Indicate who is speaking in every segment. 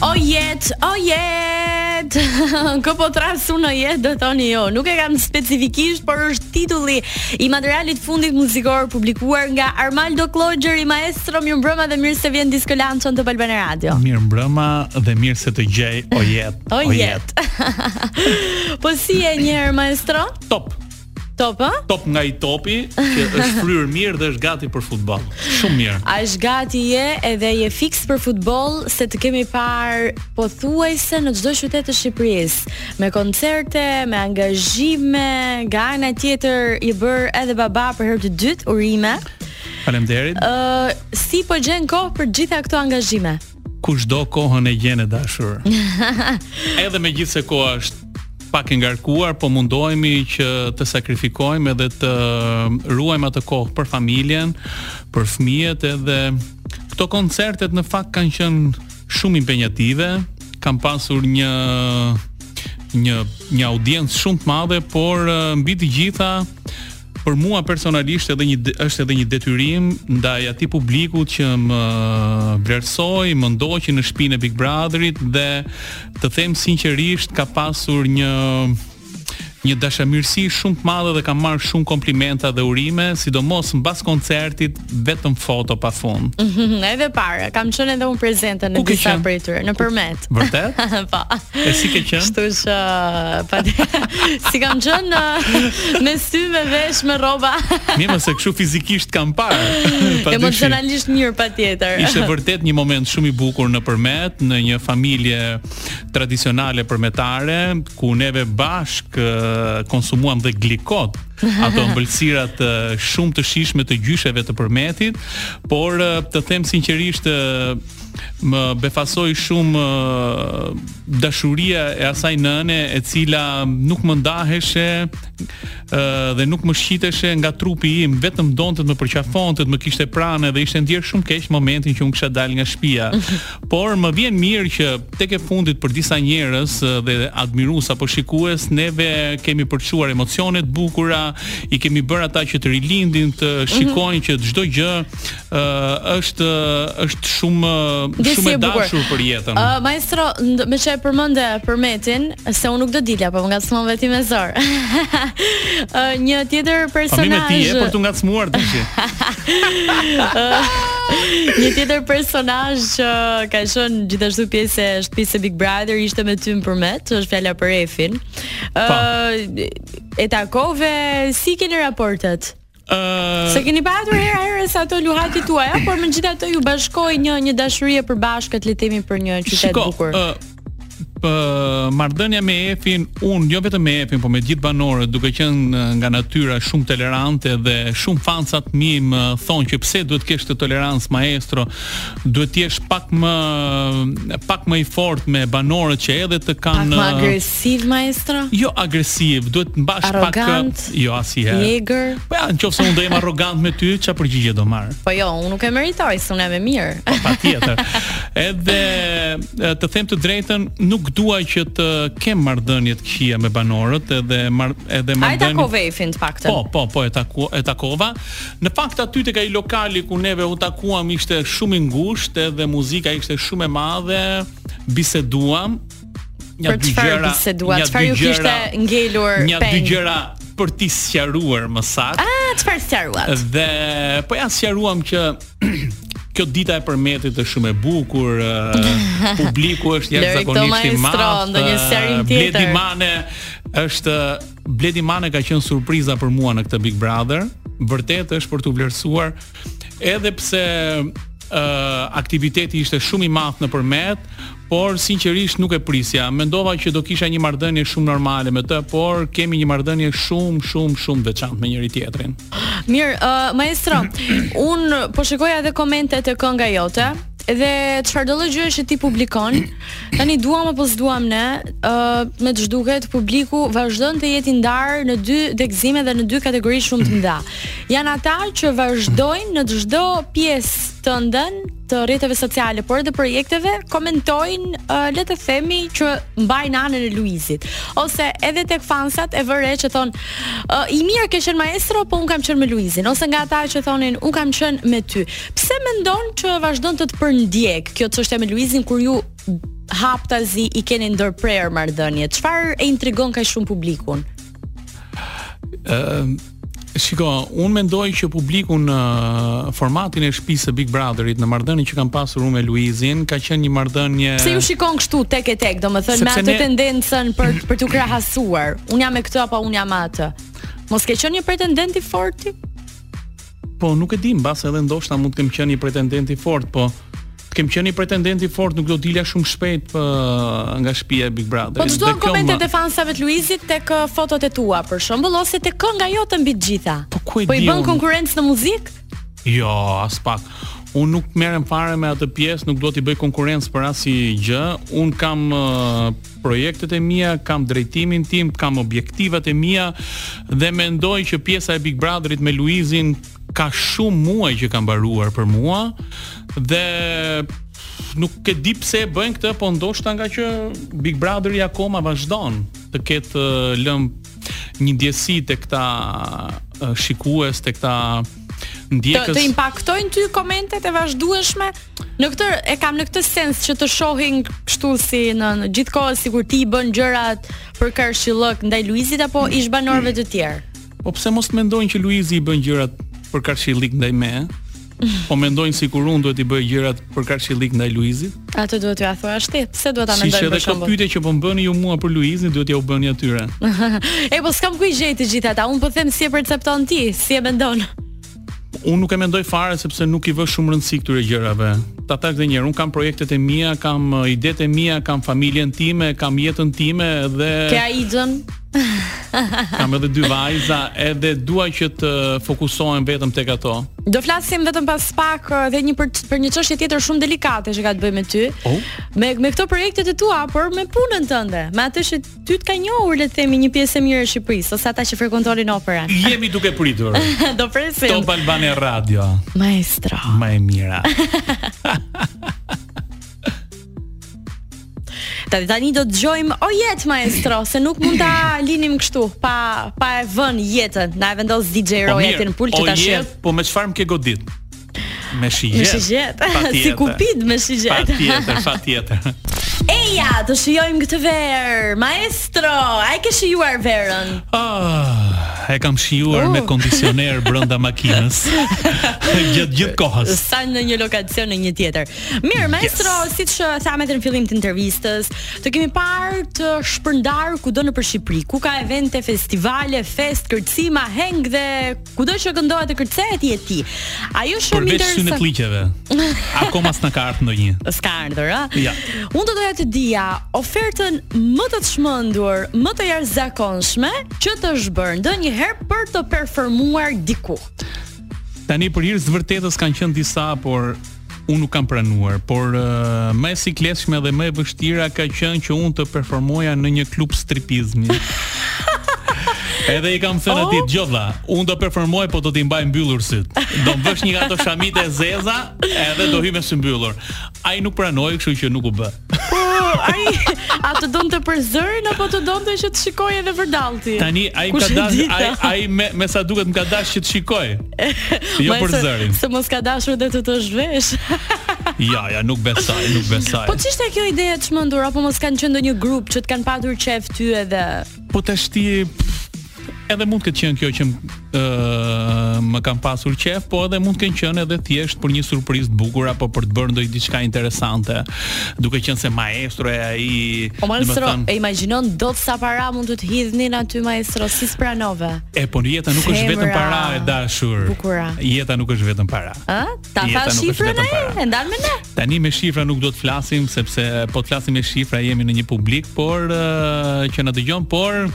Speaker 1: O jet, o jet. Ko po trasu në jet do thoni jo. Nuk e kam specifikisht, por është titulli i materialit fundit muzikor publikuar nga Armaldo Klogjeri, maestro mirë mbrëma dhe mirë se vjen Disco Lancho në Top Albana Radio.
Speaker 2: Mirë mbrëma dhe mirë se të gjej o jet.
Speaker 1: O jet. po si e një herë maestro?
Speaker 2: Top.
Speaker 1: Top, ë?
Speaker 2: Top nga i topi, që është fryrë mirë dhe është gati për futboll. Shumë mirë.
Speaker 1: A është gati je edhe je fiks për futboll se të kemi parë pothuajse në çdo qytet të Shqipërisë me koncerte, me angazhime, nga ana tjetër i bër edhe baba për herë të dytë urime.
Speaker 2: Faleminderit.
Speaker 1: Ë si po gjen kohë për gjitha këto angazhime?
Speaker 2: Kushdo kohën e gjen e dashur. Edhe megjithse koha është pak e ngarkuar, po mundohemi që të sakrifikojmë edhe të um, ruajmë atë kohë për familjen, për fëmijët edhe këto koncertet në fakt kanë qenë shumë impenjative, kanë pasur një një një audiencë shumë të madhe, por eh, mbi të gjitha për mua personalisht edhe një de- është edhe një detyrim ndaj atij publikut që më uh, vlerësoi, më ndoqi në shtëpinë e Big Brotherit dhe të them sinqerisht ka pasur një një dashamirësi shumë të madhe dhe kam marrë shumë komplimenta dhe urime, sidomos mbas koncertit vetëm foto pa fund.
Speaker 1: Mhm, edhe para, kam qenë edhe unë prezente në
Speaker 2: Ku ke
Speaker 1: disa
Speaker 2: qenë?
Speaker 1: prej tyre, nëpërmet.
Speaker 2: Vërtet?
Speaker 1: po.
Speaker 2: E si ke qenë?
Speaker 1: Kështu që pa si kam qenë ë, me sy, me vesh, me rroba.
Speaker 2: Mirë, më se kështu fizikisht kam parë. pa dyshim.
Speaker 1: Emocionalisht mirë patjetër.
Speaker 2: Ishte vërtet një moment shumë i bukur në përmet, në një familje tradicionale përmetare, ku neve bashk eh, konsumuam dhe glikot, ato ëmbëlsirat eh, shumë të shishme të gjysheve të përmetit, por eh, të them sinqerisht eh, më befasoi shumë eh, dashuria e asaj nëne e cila nuk më ndaheshe eh, dhe nuk më shqiteshe nga trupi im, vetëm donte të më përqafonte, të më kishte pranë dhe ishte ndjer shumë keq momentin që unë kisha dal nga shtëpia. Por më vjen mirë që tek e fundit për disa njerëz eh, dhe admirues apo shikues neve kemi përçuar emocione të bukura, i kemi bërë ata që të rilindin, të
Speaker 1: Mhm.
Speaker 2: shikojnë që çdo gjë eh, është është shumë
Speaker 1: Ndjesi
Speaker 2: shumë
Speaker 1: e
Speaker 2: e
Speaker 1: bukur.
Speaker 2: dashur për jetën.
Speaker 1: Uh, maestro, nd- me që e përmënde për metin, se unë nuk do dilja, po më nga smon veti me zorë. uh, një tjetër
Speaker 2: Famime ti
Speaker 1: personazh,
Speaker 2: e për të ngacmuar tash.
Speaker 1: një tjetër personazh që ka qenë gjithashtu pjesë e shtëpisë së Big Brother, ishte me ty në përmet, që është fjala për Efin. Ë e takove si keni raportet?
Speaker 2: Ë
Speaker 1: Se keni patur herë herë sa ato luhatit tuaja, por megjithatë ju bashkoi një një dashuri e përbashkët, le të themi për një qytet
Speaker 2: Shiko,
Speaker 1: bukur.
Speaker 2: ë, p- marrëdhënia me Efin, unë jo vetëm me Efin, por me gjithë banorët, duke qenë ë, nga natyra shumë tolerante dhe shumë fancat mi më thonë që pse duhet kesh të tolerancë maestro, duhet të jesh pak më pak më i fortë me banorët që edhe të
Speaker 1: Pak
Speaker 2: kanë
Speaker 1: më
Speaker 2: ë,
Speaker 1: agresiv maestro?
Speaker 2: Jo agresiv, duhet të mbash pak
Speaker 1: Arrogant?
Speaker 2: jo asnjëherë.
Speaker 1: Jegër?
Speaker 2: Po ja, nëse unë do jem arrogant me ty, çfarë përgjigje do marr?
Speaker 1: Po jo, unë nuk e meritoj, se unë jam e mirë.
Speaker 2: pa tjetër. Edhe e, të them të drejtën, nuk dua që të kem marrëdhënie të këqija me banorët, edhe mar, edhe
Speaker 1: A e
Speaker 2: marrëdhënie
Speaker 1: tako vefin të paktën?
Speaker 2: Po, po, po, e, taku, e takova. Në fakt aty tek ai lokali ku neve u takuam ishte shumë i ngushtë edhe muzika ishte shumë e madhe, biseduam. Një
Speaker 1: Për çfarë bisedua? Çfarë ju kishte ngelur
Speaker 2: Një dy
Speaker 1: peng?
Speaker 2: gjëra për t'i sqaruar më saktë.
Speaker 1: Ah, çfarë sqaruat?
Speaker 2: Dhe po ja sqaruam që kjo dita e përmetit është shumë e bukur, ë, publiku është
Speaker 1: Lëri këto
Speaker 2: jashtëzakonisht i
Speaker 1: maestro,
Speaker 2: madh.
Speaker 1: ndonjë
Speaker 2: ë,
Speaker 1: sqarim tjetër.
Speaker 2: Bledi Mane është Bledi Mane ka qenë surpriza për mua në këtë Big Brother. Vërtet është për t'u vlerësuar edhe pse ë aktiviteti ishte shumë i madh në përmet, por sinqerisht nuk e prisja. Mendova që do kisha një marrëdhënie shumë normale me të, por kemi një marrëdhënie shumë shumë shumë veçantë me njëri tjetrin.
Speaker 1: Mirë, uh, maestro, un po shikoja edhe komentet e kënga jote dhe çfarë do lloj gjësh që ti publikon, tani duam apo s'duam ne, ë me të zhduket publiku vazhdon të jetë i ndarë në dy degëzime dhe në dy kategori shumë të mëdha. Janë ata që vazhdojnë në çdo pjesë të ndën të rrjeteve sociale, por edhe projekteve komentojnë, ë, le të themi që mbajnë anën e Luizit. Ose edhe tek fansat e vëre që thon, "Ë, i mirë ke qenë maestro, po un kam qenë me Luizin, ose nga ata që thonin, un kam qenë me ty. Pse mendon që vazhdon të të përndjek kjo çështje me Luizin kur ju haptazi i keni ndërprer marrëdhënie? Çfarë e intrigon kaq shumë publikun?
Speaker 2: Ëm Shiko, unë mendoj që publiku në uh, formatin e shtëpisë së Big Brotherit në marrëdhënien që kam pasur unë me Luizin, ka qenë një marrëdhënie
Speaker 1: Pse ju shikon kështu tek e tek, domethënë me
Speaker 2: Eh. Sepse
Speaker 1: atë
Speaker 2: ne-
Speaker 1: tendencën për për t'u krahasuar. Un jam me këtë apo un jam me atë. Mos ke qenë një pretendent i fortë?
Speaker 2: Po nuk e di, mbas edhe ndoshta mund të kem qenë një pretendent i fortë, po të kem qenë një pretendent i fortë, nuk do dilja shumë shpejt për, nga shtëpia e Big Brotherit.
Speaker 1: Po të
Speaker 2: Dhe
Speaker 1: dojnë
Speaker 2: kjo
Speaker 1: komentet
Speaker 2: më-
Speaker 1: e fansave të Luizit tek uh, fotot e tua për shembull ose tek kënga jote mbi të gjitha.
Speaker 2: Po ku e
Speaker 1: Po i
Speaker 2: di
Speaker 1: bën
Speaker 2: unë?
Speaker 1: konkurrencë në muzikë?
Speaker 2: Jo, as pak. Unë nuk merrem fare me atë pjesë, nuk do t'i bëj konkurrencë për asnjë gjë. Unë kam uh, projektet e mia, kam drejtimin tim, kam objektivat e mia dhe mendoj që pjesa e Big Brotherit me Luizin ka shumë muaj që ka mbaruar për mua dhe nuk e di pse e bëjnë këtë, po ndoshta nga që Big Brotheri akoma vazhdon të ketë uh, lëmë një ndjesi tek këta uh, shikues, tek këta
Speaker 1: Të,
Speaker 2: ndjekës.
Speaker 1: të impaktojnë ty komentet e vazhdueshme? Në këtë e kam në këtë sens që të shohin kështu si në, në gjithkohë sikur ti i bën gjërat për karshillëk ndaj Luizit apo ish banorëve të tjerë.
Speaker 2: Po pse mos të mendojnë që Luizi i bën gjërat për karshillik ndaj me? Po mendojnë sikur unë duhet i bëj gjërat për karshillik ndaj Luizit?
Speaker 1: Atë duhet t'ju a thuash ti, pse duhet ta
Speaker 2: Siç
Speaker 1: mendoj
Speaker 2: edhe
Speaker 1: për
Speaker 2: ka
Speaker 1: shembull?
Speaker 2: pyetje që po më bëni ju mua për Luizin, duhet ja u bëni atyre.
Speaker 1: E po s'kam ku i gjej të gjitha ata. Un po them si e percepton ti, si e mendon.
Speaker 2: Unë nuk e mendoj fare sepse nuk i vë shumë rëndësi këtyre gjërave. Ta tak dhe njerë, unë kam projektet e mia, kam uh, idetë e mia, kam familjen time, kam jetën time dhe
Speaker 1: Ke ai gjën?
Speaker 2: kam edhe dy vajza, edhe dua që të fokusohem vetëm tek ato.
Speaker 1: Do flasim vetëm pas pak ë, dhe një për, për një çështje tjetër shumë delikate që ka të bëjë me ty.
Speaker 2: Oh.
Speaker 1: Me me këto projekte të tua, por me punën tënde, me atë që ty të ka njohur le të themi një pjesë e mirë e Shqipërisë ose ata që frekuentonin operën.
Speaker 2: Jemi duke pritur.
Speaker 1: Do presim.
Speaker 2: Top Albania Radio,
Speaker 1: Maestro.
Speaker 2: më e mira.
Speaker 1: Tani tani do të dëgjojmë o jetë maestro, se nuk mund ta linim kështu pa pa e vënë jetën. Na e vendos DJ Roja ti në pult që
Speaker 2: Po o
Speaker 1: ta shef.
Speaker 2: jetë, po me çfarë më ke godit? Me shijet.
Speaker 1: Me shigjet, si kupid me shigjet.
Speaker 2: Patjetër, patjetër.
Speaker 1: Eja, të shijojmë këtë verë. Maestro, a e ke shijuar verën?
Speaker 2: Ah, e kam shijuar
Speaker 1: Oh.
Speaker 2: me kondicioner brenda makinës. Gjatë gjithë kohës.
Speaker 1: sa në një lokacion në një tjetër. Mirë, maestro, siç uh, thamë edhe në fillim të intervistës, të kemi parë të shpërndar kudo nëpër Shqipëri, ku ka evente, festivale, fest, kërcima, heng dhe kudo që këndohet të kërcehet je ti. Ajo shumë
Speaker 2: Përveç synet
Speaker 1: interesante.
Speaker 2: liqeve. Akoma s'na ka ardhur ndonjë.
Speaker 1: S'ka ardhur, a?
Speaker 2: Ja.
Speaker 1: Unë do doja të dija ofertën më të çmendur, më të jashtëzakonshme që të është bërë ndonjëherë për të performuar diku.
Speaker 2: Tani për hir të vërtetës kanë qenë disa, por unë nuk kam pranuar, por uh, më e sikleshme dhe më e vështira ka qenë që unë të performoja në një klub stripizmi. Edhe i kam thënë
Speaker 1: Oh.
Speaker 2: atij, "Gjodha, unë do performoj, po do t'i mbaj mbyllur syt. Do më vësh një nga ato shamite e zeza, edhe do hy me sy mbyllur." Ai nuk pranoi, kështu që nuk u bë.
Speaker 1: Po, ai a të donte për zërin apo të donte që të shikojë edhe vërdallti?
Speaker 2: Tani ai
Speaker 1: Kush
Speaker 2: ka
Speaker 1: e
Speaker 2: dash,
Speaker 1: dita?
Speaker 2: ai ai me, me sa duket më ka dash që të shikoj. Jo
Speaker 1: Ma
Speaker 2: për
Speaker 1: se-
Speaker 2: zërin.
Speaker 1: Se mos ka dashur dhe të të zhvesh.
Speaker 2: Ja, ja, nuk besoj, nuk besoj.
Speaker 1: po ç'ishte kjo ide e çmendur apo mos kanë qenë ndonjë grup që të kanë patur qef ty edhe
Speaker 2: Po tash ti edhe mund të ketë qenë kjo që m- ë, më kam pasur qef, po edhe mund të kenë qenë edhe thjesht për një surprizë të bukur apo për të bërë ndonjë diçka interesante, duke qenë se maestro e ai,
Speaker 1: O Po maestro,
Speaker 2: domethënë,
Speaker 1: e imagjinon dot sa para mund të të hidhnin aty maestro, si s'pranove.
Speaker 2: e po jeta nuk është vetëm
Speaker 1: Femra.
Speaker 2: para e dashur.
Speaker 1: Bukura.
Speaker 2: Jeta nuk është vetëm para.
Speaker 1: Ë? Ta
Speaker 2: Jeta
Speaker 1: fa
Speaker 2: nuk është
Speaker 1: shifrën
Speaker 2: vetëm
Speaker 1: ai,
Speaker 2: para.
Speaker 1: e ndan me ne.
Speaker 2: Tani me shifra nuk do të flasim sepse po të flasim me shifra jemi në një publik, por ë, që na dëgjon, por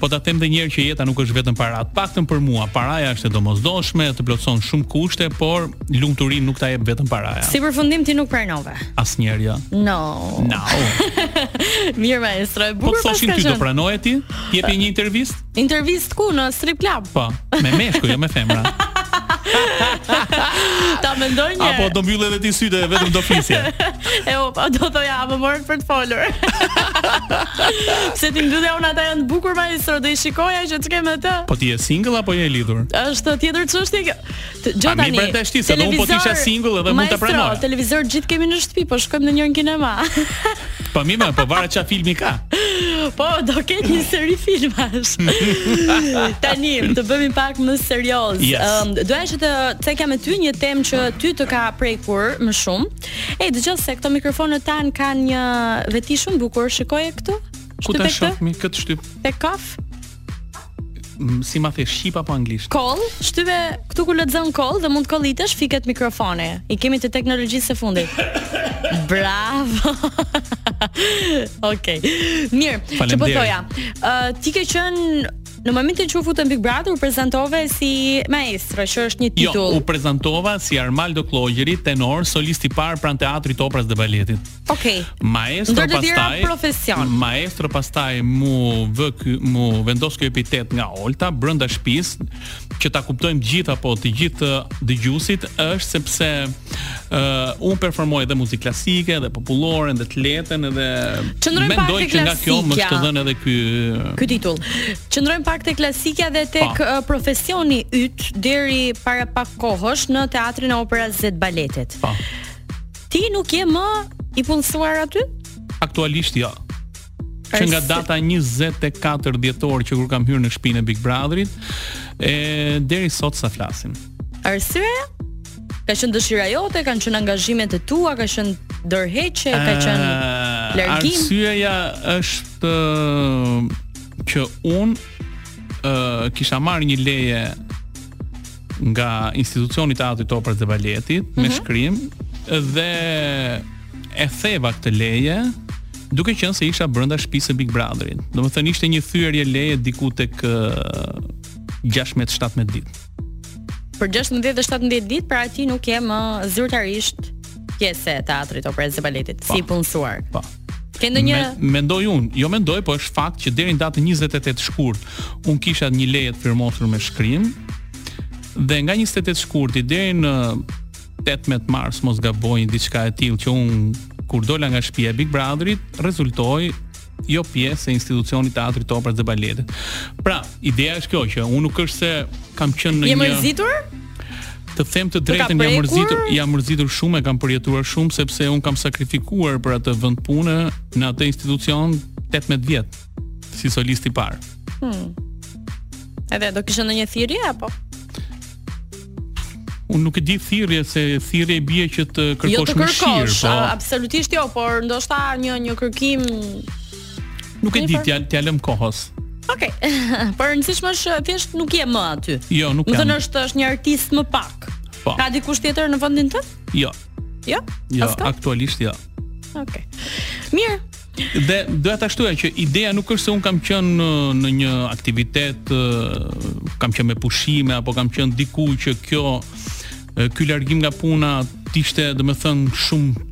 Speaker 2: po ta them edhe një herë që jeta nuk është vetëm para. Të paktën për mua, paraja është e domosdoshme, të plotson shumë kushte, por lumturinë nuk ta jep vetëm paraja.
Speaker 1: Si përfundim ti nuk pranove.
Speaker 2: Asnjëherë. jo.
Speaker 1: No.
Speaker 2: No.
Speaker 1: Mirë maestro, e
Speaker 2: Po
Speaker 1: bukur
Speaker 2: të thoshin
Speaker 1: pas
Speaker 2: ty
Speaker 1: ka
Speaker 2: do
Speaker 1: qenë.
Speaker 2: pranoje ti? Jepi një intervistë?
Speaker 1: Intervist ku në strip club?
Speaker 2: Po, me meshkuj, jo me femra.
Speaker 1: Ta po mendoj një.
Speaker 2: Apo do mbyllë edhe ti sytë, vetëm do flisje.
Speaker 1: E o, pa, do thoja, më morën për të folur. Pse ti mbyllja unë ata janë të bukur maestro, do i shikoja që ç'ke me të.
Speaker 2: Po ti je single apo je e lidhur?
Speaker 1: Është tjetër çështje kjo. Të- Gjo
Speaker 2: A mi
Speaker 1: tani.
Speaker 2: pretesh ti, se do unë po t'isha
Speaker 1: televizor-
Speaker 2: single edhe mund ta
Speaker 1: Maestro,
Speaker 2: pranoj.
Speaker 1: Televizor gjithë kemi në shtëpi, po shkojmë në njërin kinema.
Speaker 2: Po mi më, po vara çfarë filmi ka.
Speaker 1: Po, do ketë një seri filmash. Tani, të bëmi pak më serioz.
Speaker 2: Yes.
Speaker 1: Ëm, doja që të cekja me ty një temë që ty të ka prekur më shumë. Ej, dëgjoj se këto mikrofonët tan kanë një veti shumë bukur. Shikoje këtu?
Speaker 2: Ku
Speaker 1: Shtype
Speaker 2: ta
Speaker 1: këtë?
Speaker 2: shoh mi këtë shtyp?
Speaker 1: Te kaf?
Speaker 2: M, Si ma the shqip apo anglisht?
Speaker 1: Koll, shtyve këtu ku lexon koll dhe mund të kollitesh fiket mikrofoni. I kemi të teknologjisë së fundit. Bravo. Okej. Mirë, që po
Speaker 2: Faleminderit.
Speaker 1: thoja. Ë ti ke qenë në momentin që u futën Big Brother u prezantove si maestro, që është një
Speaker 2: Jo,
Speaker 1: titull.
Speaker 2: u prezantova si Armaldo Klogjeri, tenor, solist i parë pranë teatrit operas dhe baletit.
Speaker 1: Okej.
Speaker 2: Maestro
Speaker 1: Ndër të tjera
Speaker 2: pastaj
Speaker 1: profesion.
Speaker 2: Maestro pastaj mu vë ky mu vendos ky epitet nga Olta brenda shtëpisë që ta kuptojmë gjithë apo të gjithë ë, dëgjuesit është sepse uh, un performoj edhe muzikë klasike dhe popullore dhe të lehtën edhe
Speaker 1: Qëndrojmë pak
Speaker 2: mendoj
Speaker 1: tek
Speaker 2: që nga kjo më
Speaker 1: klasikja.
Speaker 2: është dhënë edhe ky
Speaker 1: Ky titull. Qëndrojmë pak tek klasika dhe tek
Speaker 2: Po.
Speaker 1: ë, profesioni yt deri para pak kohësh në teatrin e operës dhe të baletit.
Speaker 2: po
Speaker 1: Ti nuk je më i punësuar aty?
Speaker 2: aktualisht jo. Që nga data 24 dhjetor që kur kam hyrë në shtëpinë e Big Brotherit, e deri sot sa flasim.
Speaker 1: arsye? Ka qenë dëshira jote, kanë qenë angazhimet e tua, ka qenë dorëheqje, ka qenë
Speaker 2: Eh,
Speaker 1: largim?
Speaker 2: Arsyeja është eh, që unë eh, kisha marrë një leje nga institucioni i teatrit të operës dhe baletit me
Speaker 1: Mhm.
Speaker 2: shkrim dhe e theva këtë leje duke qenë se isha brenda shtëpisë së Big Brotherit. Domethënë ishte një thyerje leje diku tek eh, 16-17 ditë.
Speaker 1: për 16 dhe 17 ditë, pra ti nuk je më zyrtarisht pjesë e teatrit operës dhe baletit, si
Speaker 2: Po.
Speaker 1: punësuar.
Speaker 2: Po.
Speaker 1: Ke ndonjë
Speaker 2: Me, mendoj unë, jo mendoj, po është fakt që deri në datën 28 shkurt, unë kisha një leje të firmosur me shkrim dhe nga 28 shkurti deri në 18 mars mos gaboj diçka e tillë që unë kur dola nga shtëpia e Big Brotherit rezultoi jo pjesë e institucionit teatrit të operës dhe baletit. Pra, ideja është kjo që unë nuk është se kam qenë në
Speaker 1: je
Speaker 2: një
Speaker 1: mërzitur?
Speaker 2: Të them të
Speaker 1: ka
Speaker 2: drejtën, jam
Speaker 1: prekur?
Speaker 2: mërzitur, jam mërzitur shumë, e kam përjetuar shumë sepse un kam sakrifikuar për atë vend pune në atë institucion 18 vjet si solist i parë.
Speaker 1: Edhe do kishe ndonjë thirrje apo?
Speaker 2: Unë nuk e di thirrje se thirrje i bie që të kërkosh po
Speaker 1: Jo të kërkosh,
Speaker 2: mëshirë,
Speaker 1: a- absolutisht jo, por ndoshta një një kërkim
Speaker 2: po nuk e di
Speaker 1: një
Speaker 2: t'ja t'ja lëm kohës.
Speaker 1: Okej. por e rëndësishme është thjesht nuk je më aty.
Speaker 2: Jo, nuk
Speaker 1: Do të
Speaker 2: jam.
Speaker 1: thënë është është një artist më pak.
Speaker 2: Po.
Speaker 1: Ka dikush tjetër në vendin tënd?
Speaker 2: Jo,
Speaker 1: Jo.
Speaker 2: jo,
Speaker 1: Asko?
Speaker 2: aktualisht jo.
Speaker 1: Okej. Mirë.
Speaker 2: Dhe doja ta shtoja që ideja nuk është se un kam qenë në, në një aktivitet, ë, kam qenë me pushime apo kam qenë diku që kjo ë, ky largim nga puna t'ishte domethënë shumë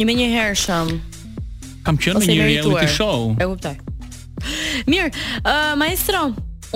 Speaker 1: Një me një hershëm
Speaker 2: kam qenë
Speaker 1: ose
Speaker 2: në një
Speaker 1: merituar.
Speaker 2: reality show.
Speaker 1: E kuptoj. Mirë, uh, maestro,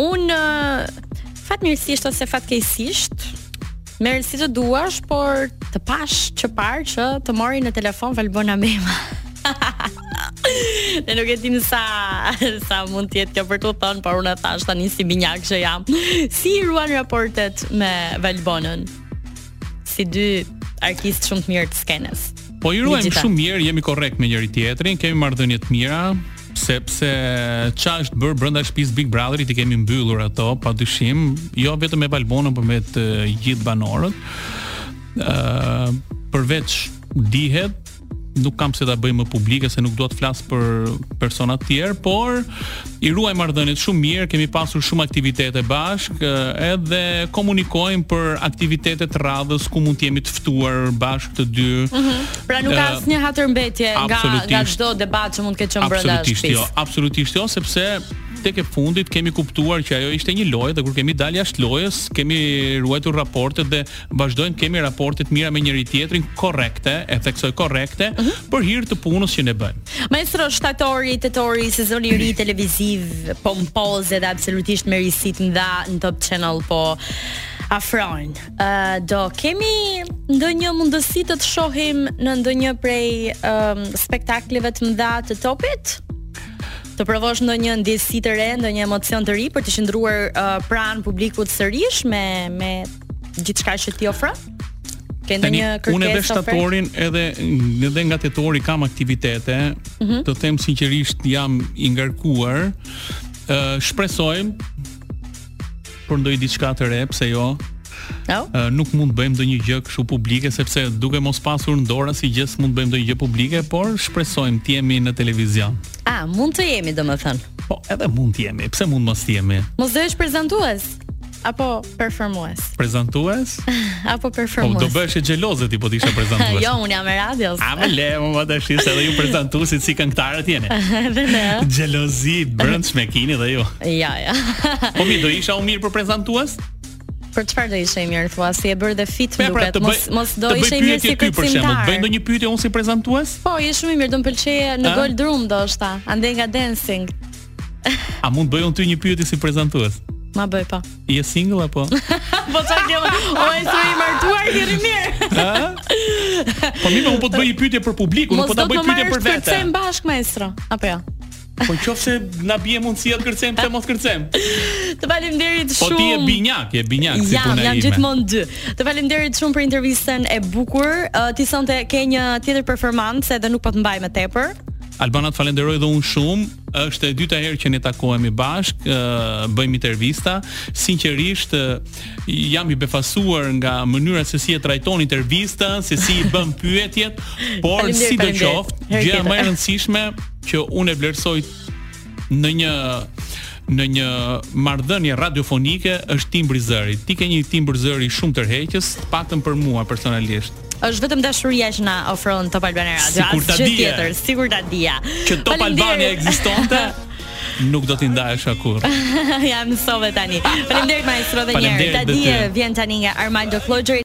Speaker 1: un uh, fatmirësisht ose fatkeqësisht merr si të duash, por të pash që parë që të mori në telefon Valbona Mema. Ne nuk e dim sa sa mund të jetë kjo për të thënë, por unë e thash tani si binjak që jam. Si i ruan raportet me Valbonën? Si dy artistë shumë të mirë të skenës.
Speaker 2: Po i ruajmë
Speaker 1: Digital.
Speaker 2: shumë mirë, jemi korrekt me njëri tjetrin, kemi marrëdhënie të mira, sepse ç'a është bërë brenda shtëpisë Big Brotherit i kemi mbyllur ato padyshim, jo vetëm me Balbonën, por me të gjithë banorët. ë përveç dihet nuk kam se ta bëj më publike se nuk dua të flas për persona të tjerë, por i ruaj marrëdhëniet shumë mirë, kemi pasur shumë aktivitete bashk, ë, edhe komunikojmë për aktivitete të radhës ku mund të jemi të ftuar bashk të dy.
Speaker 1: Pra nuk ka
Speaker 2: Ë,
Speaker 1: asnjë hatërmbetje nga nga
Speaker 2: absolutisht.
Speaker 1: çdo debat që mund të ketë qenë brenda
Speaker 2: Absolutisht
Speaker 1: shtëpisë.
Speaker 2: jo, absolutisht jo, sepse tek e fundit kemi kuptuar që ajo ishte një lojë dhe kur kemi dalë jashtë lojës, kemi ruajtur raportet dhe vazhdojmë të kemi raporte të mira me njëri tjetrin korrekte, e theksoj korrekte,
Speaker 1: Mhm.
Speaker 2: për hir të punës që ne bëjmë.
Speaker 1: Maestro shtatori, tetori, sezoni i ri televiziv, pompoze dhe absolutisht me risit në dha në Top Channel po afrojnë. Uh, do kemi ndonjë mundësi të të shohim në ndonjë prej um, spektakleve të mëdha të Topit? Të provosh ndonjë ndjesi të re, ndonjë emocion të ri për të qëndruar uh, pranë publikut sërish me me gjithçka që ti ofron? Ke Okej, okay, ndonjë kërkesë.
Speaker 2: unë edhe
Speaker 1: ofertë?
Speaker 2: shtatorin edhe edhe nga tetori kam aktivitete.
Speaker 1: Mhm.
Speaker 2: Të them sinqerisht jam i ngarkuar. Ë shpresojmë për ndonjë diçka të re, pse jo?
Speaker 1: Jo?
Speaker 2: Ë, nuk mund të bëjmë ndonjë gjë kështu publike sepse duke mos pasur në dorë si gjë mund të bëjmë ndonjë gjë publike, por shpresojmë të jemi në televizion.
Speaker 1: A, mund të jemi domethënë.
Speaker 2: Po, edhe mund të jemi, pse mund mos të jemi?
Speaker 1: Mos dhe është prezantues apo performues
Speaker 2: Prezantues?
Speaker 1: apo
Speaker 2: Po
Speaker 1: performues.
Speaker 2: do bëhesh e xheloze ti po të isha prezantues.
Speaker 1: jo, unë jam e radios.
Speaker 2: A më le, më më të shisë edhe ju prezantuesit si këngëtarët jeni.
Speaker 1: Edhe ne. ë?
Speaker 2: Xhelozi brëndshme kini dhe ju.
Speaker 1: Ja, ja.
Speaker 2: Po mi do isha unë mirë për prezantues?
Speaker 1: Për çfarë do ishe i mirë thua? Si e bërë dhe fit
Speaker 2: Po,
Speaker 1: më duket. mos mos do
Speaker 2: të bëj
Speaker 1: ishe i mirë
Speaker 2: pyetje
Speaker 1: si
Speaker 2: ty për shembull,
Speaker 1: kërcimtar.
Speaker 2: bëj ndonjë pyetje unë si prezantues?
Speaker 1: Po, je shumë i mirë, do më pëlqeje në
Speaker 2: A?
Speaker 1: Gold Room do shta, ande nga dancing.
Speaker 2: A mund bëj unë ty një pyetje si prezantues?
Speaker 1: Ma bëj po. pa.
Speaker 2: Je single apo?
Speaker 1: Po sa ke, o e së i martuar, ke rri mirë.
Speaker 2: Ha? Po mi po unë po të bëj një pyetje për publikun, unë
Speaker 1: Mos
Speaker 2: po ta
Speaker 1: do të
Speaker 2: bëj
Speaker 1: më
Speaker 2: pyetje
Speaker 1: marrësh
Speaker 2: për vete.
Speaker 1: kërcem bashkë, maestro, apo jo?
Speaker 2: Po qofse na bie mundësia të kërcem, pse mos kërcem?
Speaker 1: Të faleminderit
Speaker 2: Po
Speaker 1: shumë.
Speaker 2: ti je binjak, je binjak si
Speaker 1: Jam,
Speaker 2: puna
Speaker 1: jam
Speaker 2: ime.
Speaker 1: gjithmonë dy. Të falenderit shumë për intervistën e bukur. Uh, ti sonte ke një tjetër performancë edhe nuk po të mbaj më tepër.
Speaker 2: Albana të falenderoj dhe unë shumë. Është e dyta herë që ne takohemi bashk, ë, bëjmë intervista. Sinqerisht ë, jam i befasuar nga mënyra se si e trajton intervistën, se si i bën pyetjet, por
Speaker 1: Faleminderit,
Speaker 2: si do
Speaker 1: faleminderit.
Speaker 2: qoftë,
Speaker 1: Herë
Speaker 2: gjëja
Speaker 1: tjetër.
Speaker 2: më e rëndësishme që unë e vlerësoj në një në një marrëdhënie radiofonike është timbri i zërit. Ti ke një timbër zëri shumë tërheqës, të paktën për mua personalisht.
Speaker 1: Është vetëm dashuria që na ofron Top Albania Radio.
Speaker 2: Sikur ta
Speaker 1: asgjë
Speaker 2: dije.
Speaker 1: tjetër, sigur ta dija.
Speaker 2: Që Top
Speaker 1: Faleminderit.
Speaker 2: Albania ekzistonte, nuk do t'i ndahesha kurrë.
Speaker 1: ja mësove tani. Faleminderit maestro edhe një herë.
Speaker 2: Ah, Faleminderit
Speaker 1: Ta
Speaker 2: dhe
Speaker 1: dije
Speaker 2: ty.
Speaker 1: vjen tani nga Armando Cloger